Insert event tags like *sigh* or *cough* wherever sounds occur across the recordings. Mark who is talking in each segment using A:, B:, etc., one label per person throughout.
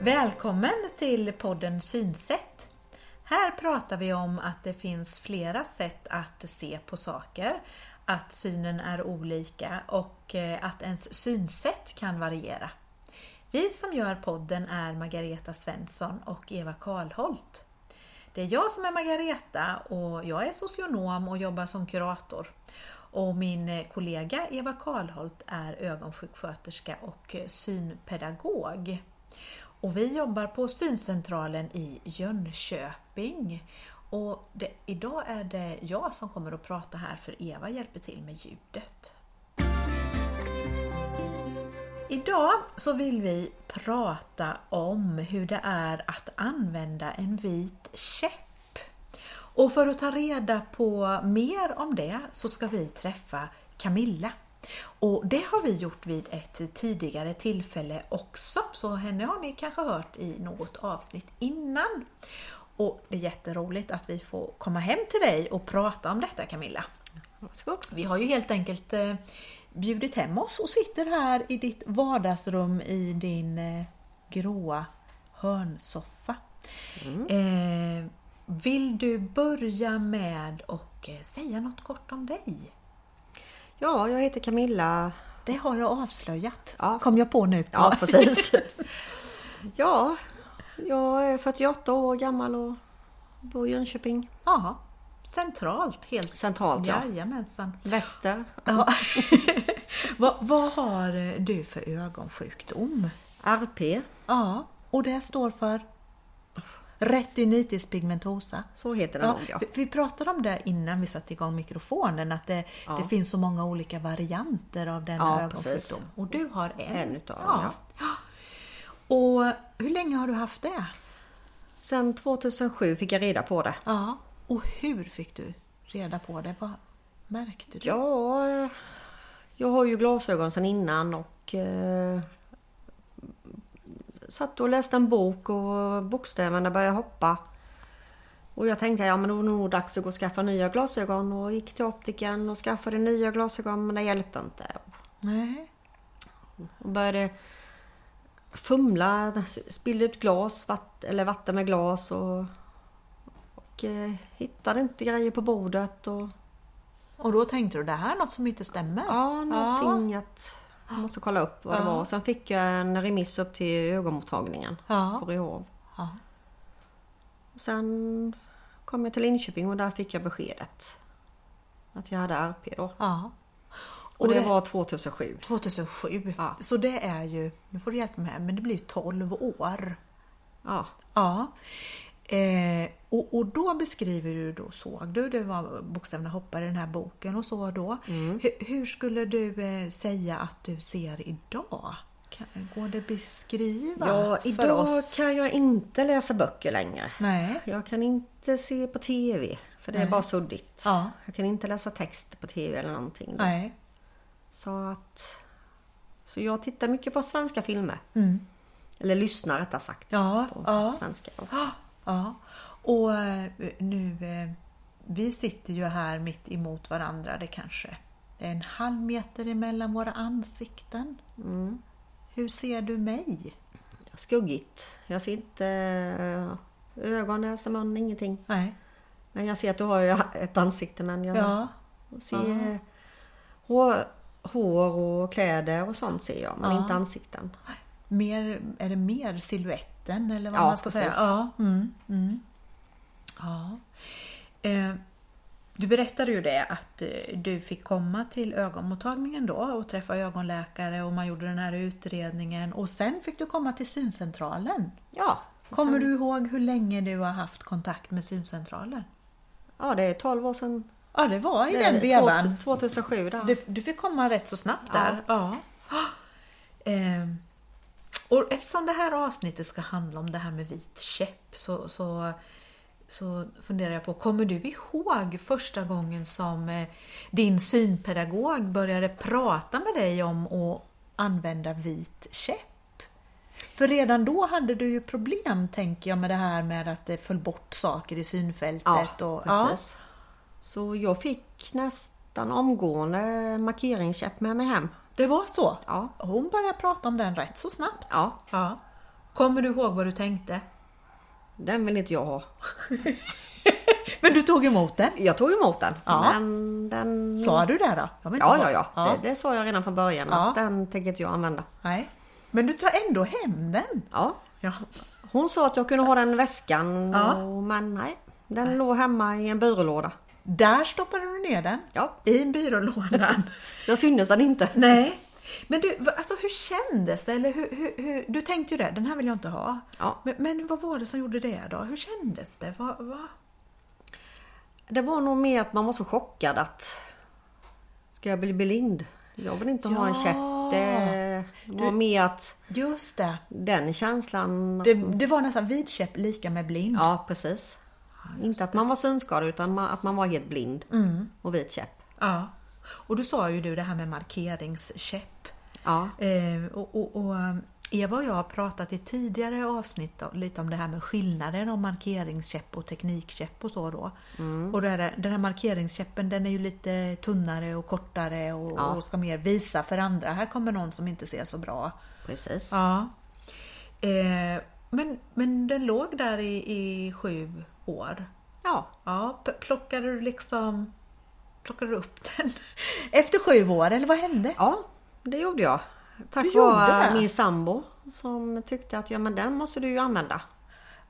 A: Välkommen till podden Synsätt. Här pratar vi om att det finns flera sätt att se på saker, att synen är olika och eh, att ens synsätt kan variera. Vi som gör podden är Margareta Svensson och Eva Karlholt. Det är jag som är Margareta och jag är socionom och jobbar som kurator. Och min eh, kollega Eva Karlholt är ögonsjuksköterska och eh, synpedagog. Och vi jobbar på syncentralen i Jönköping. Och det, idag är det jag som kommer att prata här för Eva hjälper till med ljudet. Idag så vill vi prata om hur det är att använda en vit käpp. Och för att ta reda på mer om det så ska vi träffa Camilla. Och det har vi gjort vid ett tidigare tillfälle också, så henne har ni kanske hört i något avsnitt innan. Och det är jätteroligt att vi får komma hem till dig och prata om detta Camilla.
B: Varsågod.
A: Vi har ju helt enkelt eh, bjudit hem oss och sitter här i ditt vardagsrum i din eh, gråa hörnsoffa.
B: Mm.
A: Eh, vill du börja med och eh, säga något kort om dig?
B: Ja, jag heter Camilla.
A: Det har jag avslöjat,
B: Ja.
A: kom jag på nu.
B: Ja, precis. *laughs* ja, jag är 48 år gammal och bor i Jönköping.
A: ja, centralt helt.
B: Centralt, ja.
A: Jajamensan.
B: Väster.
A: Ja. vad, vad har eh, du för ögonsjukdom?
B: RP,
A: Ja, och det står för retinitis pigmentosa.
B: så heter den
A: Ja,
B: nog ja.
A: vi- vi pratade om det innan vi satte igång mikrofonen, att det,
B: Ja.
A: det finns så många olika varianter av denna
B: Ja,
A: ögonsjukdom.
B: precis.
A: Och du har en.
B: En utav dem, ja.
A: Och hur länge har du haft det?
B: Sen 2007 fick jag reda på det.
A: Ja. Och hur fick du reda på det? Vad märkte du?
B: Ja, eh, jag har ju glasögon sedan innan och eh, satt och läste en bok och bokstäverna började hoppa. Och jag tänkte ja men då är det nog dags att gå och skaffa nya glasögon och gick till optiken och skaffade nya glasögon men det hjälpte inte.
A: Nej.
B: Och började fumla, spilla ut glas, vatt, eller vatten med glas och, och eh, hittade inte grejer på bordet. Och,
A: Och då tänkte du det här är något som inte stämmer?
B: Ja, någonting att jag måste kolla upp vad det
A: Ja.
B: var. Sen fick jag en remiss upp till ögonmottagningen
A: Ja.
B: på Ryhov.
A: ja.
B: Och Sen kom jag till Linköping och där fick jag beskedet. Att jag hade RP då.
A: ja.
B: Och, det, var 2007.
A: 2007.
B: Ja.
A: Så det är ju, nu får du hjälpa mig här, men det blir 12 år.
B: Ja,
A: Ja. Eh, och, och då beskriver du, då såg du, det var bokstäverna hoppar i den här boken och så då.
B: Mm.
A: Hur, hur skulle du eh, säga att du ser idag? Kan, går det beskriva
B: ja
A: för
B: idag
A: oss?
B: kan jag inte läsa böcker längre.
A: Nej.
B: Jag kan inte se på TV. För det är bara suddigt.
A: Ja.
B: Jag kan inte läsa text på TV eller någonting. då.
A: Nej. *gasps*
B: Så att... Så jag tittar mycket på svenska filmer. Eller lyssnar rättare sagt.
A: Mm. Ja,
B: på
A: ja.
B: svenska. då.
A: Ja, Ja, och eh, nu, eh, vi sitter ju här mitt emot varandra, det kanske det är en halv meter emellan våra ansikten.
B: Mm.
A: Hur ser du mig?
B: Skuggigt. Jag ser inte eh, ögon, näsa, mun, ingenting.
A: Nej.
B: Men jag ser att du har ju ett ansikte men jag
A: Ja,
B: ser hår, hår och kläder och sånt ser jag men
A: Ja.
B: inte ansikten.
A: mer, är det mer siluetten eller vad
B: Ja,
A: man ska
B: precis.
A: säga? Ja, mm, mm. ja. Eh, Du berättade ju det att eh, du fick komma till ögonmottagningen då och träffa ögonläkare och man gjorde den här utredningen och sen fick du komma till syncentralen.
B: Ja,
A: Kommer du ihåg hur länge du har haft kontakt med syncentralen?
B: ja det är 12 år sedan.
A: Ja, det var i
B: det
A: den
B: är
A: vevan.
B: 2007 där.
A: Du, du fick komma rätt så snabbt där. Ja. Ehm, och eftersom det här avsnittet ska handla om det här med vit käpp så, så, så funderar jag på, kommer du ihåg första gången som eh, din synpedagog började prata med dig om att använda vit käpp? För redan då hade du ju problem, tänker jag, med det här med att det föll bort saker i synfältet. och,
B: precis. Så jag fick nästan omgående markeringskäpp med mig hem.
A: det var så?
B: Ja.
A: Hon började prata om den rätt så snabbt.
B: Ja,
A: Ja. Kommer du ihåg vad du tänkte?
B: Den vill inte jag ha.
A: Men du tog emot den?
B: Jag tog emot den.
A: Ja.
B: Men den...
A: Sa du det då? Jag vill inte
B: Ja,
A: ha-
B: ja, ja. Det, det sa jag redan från början.
A: Ja.
B: Att den tänker inte jag använda.
A: Nej. Men du tar ändå hem den?
B: Ja.
A: Ja.
B: Hon sa att jag kunde ha den i väskan,
A: Ja.
B: och, men nej. Den låg hemma i en byrålåda.
A: Där stoppade du ner den?
B: Ja.
A: I byrålådan?
B: Där syntes den inte.
A: *laughs* Nej. Men du, va- alltså hur kändes det? Eller hur, hur, hur, du tänkte ju det, den här vill jag inte ha.
B: Ja.
A: Men, men vad var det som gjorde det då? Hur kändes det? Va, va?
B: Det var nog mer att man var så chockad att... Ska jag bli blind? Jag vill inte ha en
A: Ja.
B: käpp. Det var mer att
A: Just det.
B: den känslan...
A: det. Det var nästan vidkäpp lika med blind.
B: Ja, precis. inte att man var synskadad utan ma- att man var helt blind
A: Mm.
B: och vit käpp.
A: Ja. Och du sa ju du det här med markeringskäpp.
B: Ja.
A: Eh, och, och, och eh, Eva och jag har pratat i tidigare avsnitt om- lite om det här med skillnaden om markeringskäpp och teknikkäpp och så då. Och det här, den här markeringskäppen den är ju lite tunnare och kortare och,
B: Ja.
A: och ska mer visa för andra. Här kommer någon som inte ser så bra.
B: Precis.
A: Ja. Eh, men, men den låg där i, i sju år.
B: Ja.
A: Ja, p- plockade du liksom plockade du upp den *laughs* efter sju år eller vad hände?
B: Ja, det gjorde jag. Tack
A: Du gjorde
B: vare
A: det?
B: min sambo som tyckte att ja, men den måste du ju använda.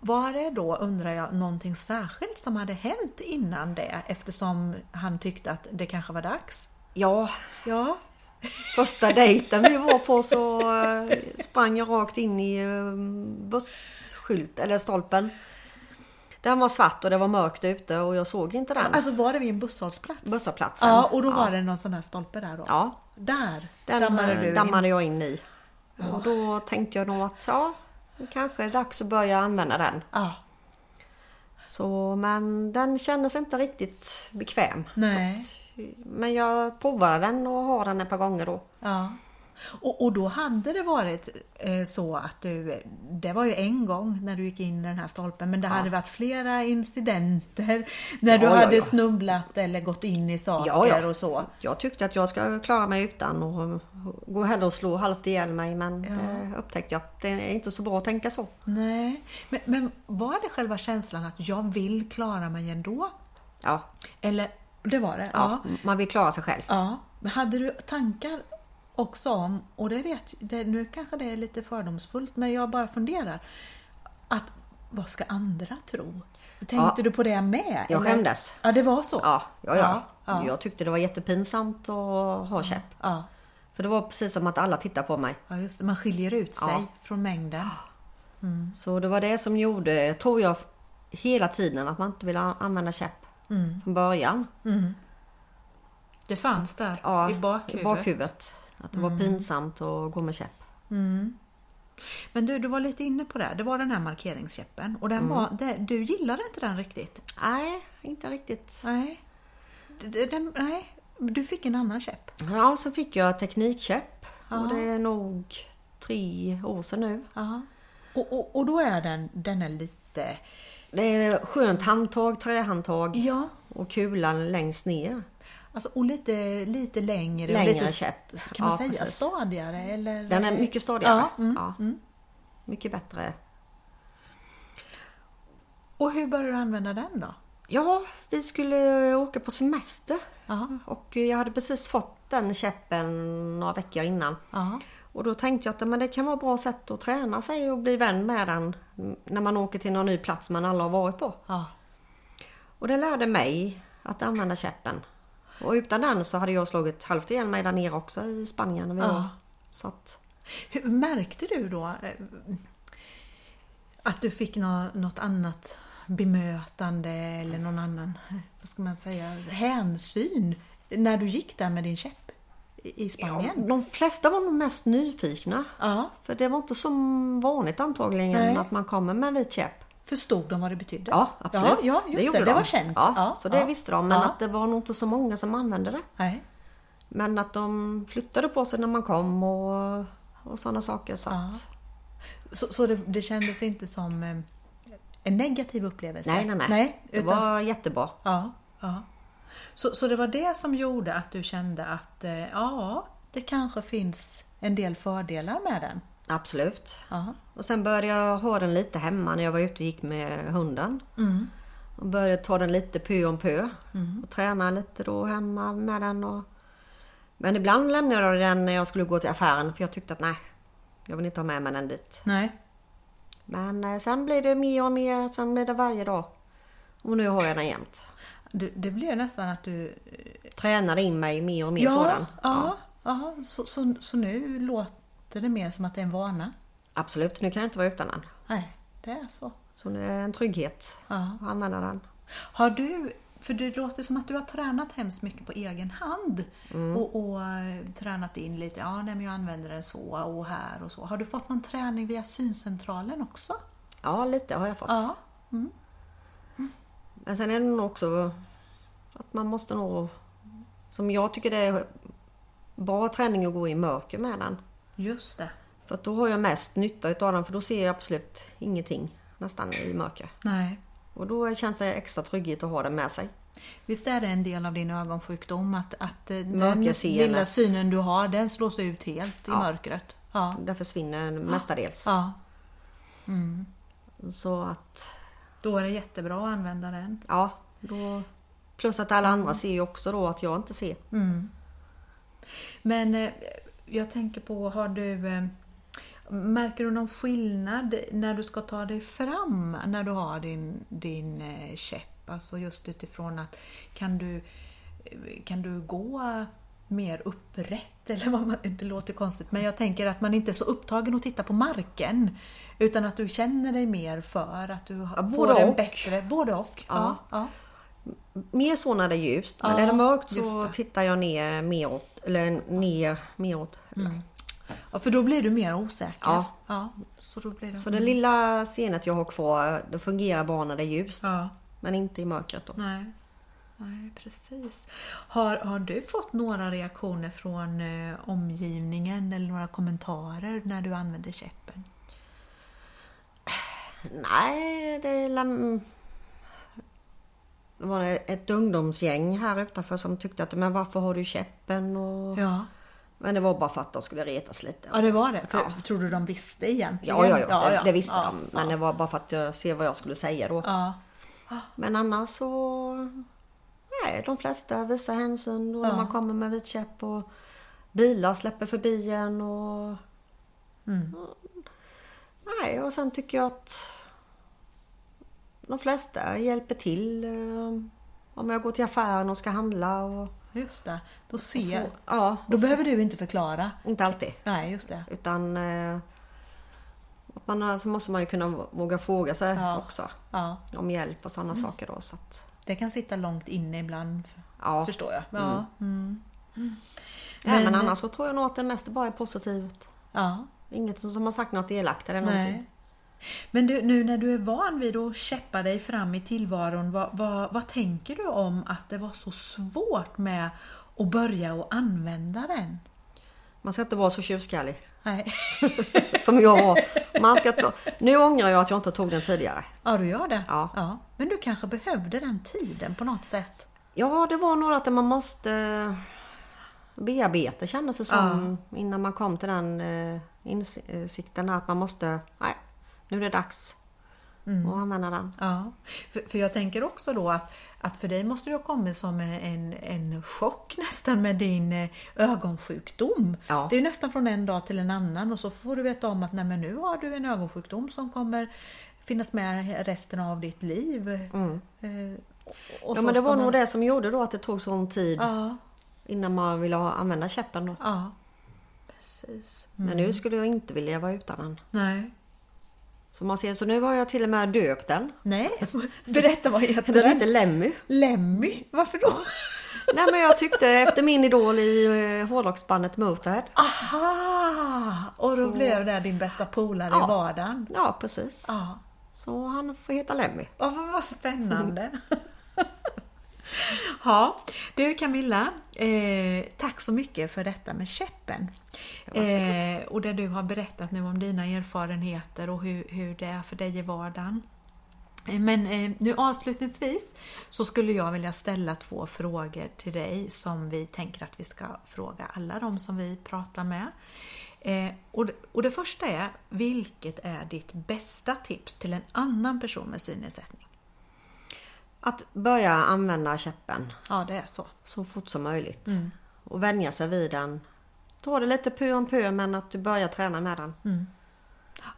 A: Var det då, undrar jag, någonting särskilt som hade hänt innan det eftersom han tyckte att det kanske var dags?
B: Ja,
A: Ja,
B: första dejten vi var på så eh, sprang jag rakt in i eh, busskylt eller stolpen. Den var svart och det var mörkt ute och jag såg inte den
A: alltså var det vid en busshållplats?
B: busshållplatsen.
A: Ja, och då var det någon sån här stolpe där då?
B: Ja,
A: Där
B: den
A: dammade
B: eh,
A: du in.
B: dammade jag in i. Och då tänkte jag nog att ja, det kanske är dags att börja använda den.
A: Ja,
B: Så, men den kändes inte riktigt bekväm.
A: Nej.
B: Så att, men jag provade den och har den ett par gånger då.
A: ja. Och, och då hade det varit eh, så att du, det var ju en gång när du gick in i den här stolpen, men det hade varit flera incidenter när du
B: Ja, ja,
A: hade
B: ja.
A: snubblat eller gått in i saker
B: Ja, ja.
A: och så.
B: Jag tyckte att jag ska klara mig utan och gå hellre och slå halvt ihjäl mig men det upptäckte jag att det är inte så bra att tänka så.
A: Nej, men, men var det själva känslan att jag vill klara mig ändå?
B: Ja,
A: Eller, det var det?
B: ja. man vill klara sig själv.
A: ja. Men Hade du tankar också om, och det vet det, nu kanske det är lite fördomsfullt, men jag bara funderar. Att vad ska andra tro? Tänkte du på det med?
B: Jag
A: eller?
B: skämdes.
A: Ja, det var så?
B: Ja,
A: Ja,
B: ja, ja.
A: ja.
B: Jag tyckte det var jättepinsamt att ha käpp.
A: ja.
B: För det var precis som att alla tittade på mig.
A: Ja, just det. Man skiljer ut sig
B: Ja.
A: från mängden.
B: Så det var det som gjorde, tror jag, hela tiden att man inte ville använda käpp
A: Mm.
B: från början.
A: Det fanns där
B: Ja,
A: i bakhuvudet. Mm.
B: I bakhuvudet. Att det var pinsamt att gå med käpp.
A: Men du, du var lite inne på det. här. Det var den här markeringskäppen och den
B: Mm.
A: var, det, du gillade inte den riktigt.
B: Nej, inte riktigt.
A: Nej. D- d- Den, nej, du fick en annan käpp.
B: Ja, sen fick jag teknikkäpp. Och det är nog tre år sedan nu.
A: Ja. Och, och, och då är den, den är lite...
B: Det är skönt handtag, trähandtag
A: Ja.
B: och kulan längst ner.
A: Alltså, och lite, lite längre.
B: Längre
A: och lite,
B: käpp.
A: Kan man
B: Ja,
A: säga
B: precis.
A: stadigare? Eller?
B: Den är mycket stadigare.
A: Ja, mm,
B: Ja. Mycket bättre.
A: Och hur började du använda den då?
B: Ja, vi skulle åka på semester.
A: Ja.
B: Och jag hade precis fått den käppen några veckor innan.
A: Ja.
B: Och då tänkte jag att men det kan vara ett bra sätt att träna sig och bli vän med den när man åker till någon ny plats man aldrig har varit på.
A: ja.
B: Och det lärde mig att använda käppen. Och utan den så hade jag slagit halvt ihjäl mig där nere också i Spanien. När vi
A: Ja.
B: var. Så att,
A: Hur, märkte du då eh, att du fick nå- något annat bemötande eller någon annan, eh, vad ska man säga, hänsyn när du gick där med din käpp i i
B: ja,
A: Spanien?
B: de flesta var nog mest nyfikna.
A: Ja.
B: För det var inte så vanligt antagligen
A: Nej.
B: att man kommer med en vit käpp.
A: Förstod de vad det betydde?
B: Ja, absolut.
A: Ja, ja just det, det,
B: de.
A: var känt.
B: Ja, så det
A: ja.
B: visste de. Men
A: Ja.
B: att det var nog inte så många som använde det.
A: Nej.
B: Men att de flyttade på sig när man kom och, och sådana saker. Så
A: Ja.
B: att,
A: Så, så det, det kändes inte som eh, en negativ upplevelse?
B: nej, nej, nej.
A: nej
B: det
A: utan
B: var jättebra.
A: Ja, ja. Så, så det var det som gjorde att du kände att eh, ja, det kanske finns en del fördelar med den?
B: Absolut.
A: Ja.
B: Och sen började jag ha den lite hemma när jag var ute och gick med hunden.
A: Mm.
B: Och började ta den lite pö om pö. Och träna lite då hemma med den. Och... Men ibland lämnade jag den när jag skulle gå till affären för jag tyckte att nej, jag vill inte ha med mig den dit.
A: Nej.
B: Men eh, sen blir det mer och mer, sen blir det varje dag. Och nu har jag den jämt.
A: Du, det blir nästan att du... eh,
B: Tränade in mig mer och mer på den.
A: ja, ja. ja. Så, så, så nu låter det mer som att det är en vana.
B: Absolut, nu kan jag inte vara utan den.
A: Nej, det är så.
B: Så nu är det en trygghet
A: Ja.
B: att använda den.
A: Har du, för det låter som att du har tränat hemskt mycket på egen hand
B: Mm.
A: och, och eh, tränat in lite, ja nej men jag använder den så och här och så. Har du fått någon träning via syncentralen också?
B: Ja, lite har jag fått.
A: Ja.
B: Men sen är det nog också att man måste nog... Som jag tycker det är bra träning att gå i mörker med den.
A: Just det.
B: För att då har jag mest nytta utav den för då ser jag absolut ingenting nästan i mörker.
A: Nej.
B: Och då känns det extra trygghet att ha den med sig.
A: Visst är det en del av din ögonsjukdom att, att eh, den
B: Mörkerseendet.
A: lilla synen du har den slås ut helt i
B: Ja.
A: mörkret? Ja.
B: Den försvinner mestadels.
A: ja. Mm.
B: Så att,
A: Då är det jättebra att använda den.
B: ja. Då, plus att alla
A: Mm.
B: andra ser ju också då att jag inte ser.
A: Men eh, jag tänker på, har du, eh, märker du någon skillnad när du ska ta dig fram när du har din, din eh, käpp? Alltså just utifrån att kan du, eh, kan du gå mer upprätt? *laughs* Eller vad man, det låter konstigt men jag tänker att man inte är så upptagen att titta på marken. Utan att du känner dig mer för att du har-
B: Ja, både
A: får en
B: och.
A: bättre... Både och. Ja.
B: Ja.
A: Ja,
B: Mer så när det är ljust. Men
A: Ja,
B: när det är mörkt
A: just
B: så
A: det.
B: tittar jag ner meråt. Eller ner meråt.
A: Mm. ja. för då blir du mer osäker.
B: Ja.
A: så då blir det...
B: Så det lilla scenet jag har kvar, det fungerar bara när det är ljust.
A: ja.
B: Men inte i mörkret då.
A: Nej. Nej, precis. Har, har du fått några reaktioner från eh, omgivningen eller några kommentarer när du använder käppen?
B: Nej, det är... lam- Det var ett ungdomsgäng här utanför som tyckte att men varför har du käppen? Och...
A: Ja,
B: Men det var bara för att de skulle retas lite.
A: ja det var det. För, Tror du de visste egentligen?
B: Ja, ja, ja, det, det visste
A: ja,
B: de. Men det var bara för att jag ser vad jag skulle säga då.
A: Ja,
B: Men annars så... Nej, de flesta visar hänsyn då när man kommer med vit käpp och bilar släpper förbi en och... Nej, och sen tycker jag att de flesta hjälper till. eh, Om jag går till affären och ska handla och...
A: just det. Då ser...
B: och- Ja,
A: Då behöver du inte förklara.
B: inte alltid.
A: Nej, just det.
B: Utan... eh, att man, har- så måste man ju kunna våga fråga sig
A: Ja.
B: också.
A: Ja,
B: Om hjälp och sådana saker då. Så att,
A: det kan sitta långt inne ibland,
B: ja.
A: förstår jag. Ja, mm.
B: Nej, men
A: Men-
B: annars så tror jag nog att det mest bara är positivt.
A: ja.
B: Inget som som har sagt något elakt eller
A: Nej.
B: någonting.
A: Men du, nu när du är van vid att käppa dig fram i tillvaron, vad, vad, vad tänker du om att det var så svårt med att börja och använda den?
B: Man ska inte vara så tjurskallig
A: Nej.
B: *laughs* som jag var. Man ska ta... Nu ångrar jag att jag inte tog den tidigare.
A: Ja, du gör det?
B: Ja.
A: Men du kanske behövde den tiden på något sätt?
B: Ja, det var nog att man måste eh, bearbeta kändes det som innan man kom till den eh, insikten att man måste, nej, nu är det dags att använda den.
A: Ja, för, för jag tänker också då att, att för dig måste det ha kommit som en, en chock nästan med din eh, ögonsjukdom.
B: Ja.
A: Det är ju nästan från en dag till en annan och så får du veta om att nej men nu har du en ögonsjukdom som kommer finnas med resten av ditt liv. Eh, och- och
B: Mm.
A: så
B: Ja, men det
A: ska
B: var
A: man-
B: nog det som gjorde då att det tog sån tid
A: Ja,
B: innan man ville ha- använda käppen. Då.
A: ja. Precis.
B: Men nu skulle jag inte vilja vara utan den.
A: Nej.
B: Så man ser, så nu har jag till och med döpt den.
A: Nej, *laughs* berätta vad heter
B: Den
A: den?
B: heter Lemmy.
A: Lemmy, varför då?
B: Nej men jag tyckte efter min idol i eh, hårdrocksbandet Motörhead.
A: Aha! Och då blev det din bästa polare i
B: Ja.
A: vardagen.
B: Ja precis.
A: Ja.
B: Så han får heta Lemmy.
A: Ja, vad, vad spännande! ja, du Camilla, eh, tack så mycket för detta med käppen. Eh, och där du har berättat nu om dina erfarenheter och hur, hur det är för dig i vardagen. Eh, Men eh, nu avslutningsvis så skulle jag vilja ställa två frågor till dig som vi tänker att vi ska fråga alla de som vi pratar med. Eh, och, det- och det första är, vilket är ditt bästa tips till en annan person med synnedsättning?
B: Att börja använda käppen
A: Ja, det är så.
B: så fort som möjligt.
A: Mm.
B: Och vänja sig vid den. Ta det lite pö om pö men att du börjar träna med den.
A: Mm.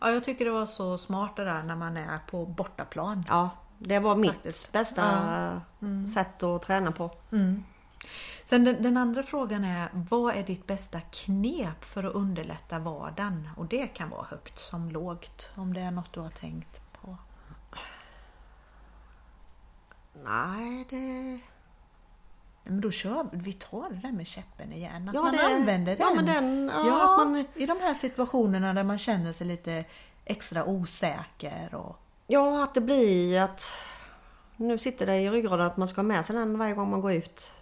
A: Ja, jag tycker det var så smart det där när man är på bortaplan.
B: Ja, det var mitt bästa
A: Mm.
B: sätt att träna på.
A: Sen den, den andra frågan är, vad är ditt bästa knep för att underlätta vardagen? Och det kan vara högt som lågt, om det är något du har tänkt på.
B: Nej, det...
A: Nej, Men då kör vi, vi tar det där med käppen igen. Att
B: Ja,
A: man
B: det-
A: använder den.
B: ja, men den- ja,
A: Ja,
B: att man-
A: i de här situationerna där man känner sig lite extra osäker. Och,
B: Ja, att det blir att... Nu sitter det i ryggraden att man ska ha med sig den varje gång man går ut.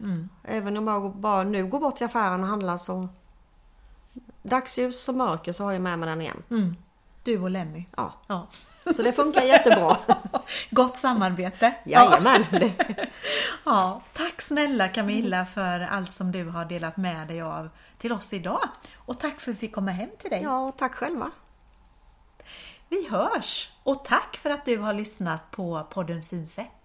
B: Även om jag bara nu går bort till affären och handlar så... Dagsljus och mörker så har jag med mig den jämt.
A: Mm. du och Lemmy.
B: Ja,
A: Ja. *laughs*
B: så det funkar jättebra.
A: Gott samarbete.
B: Jajamän! Det,
A: Ja, tack snälla Camilla för allt som du har delat med dig av till oss idag. Och tack för att vi fick komma hem till dig.
B: ja, tack själva.
A: Vi hörs! Och tack för att du har lyssnat på podden Synsätt.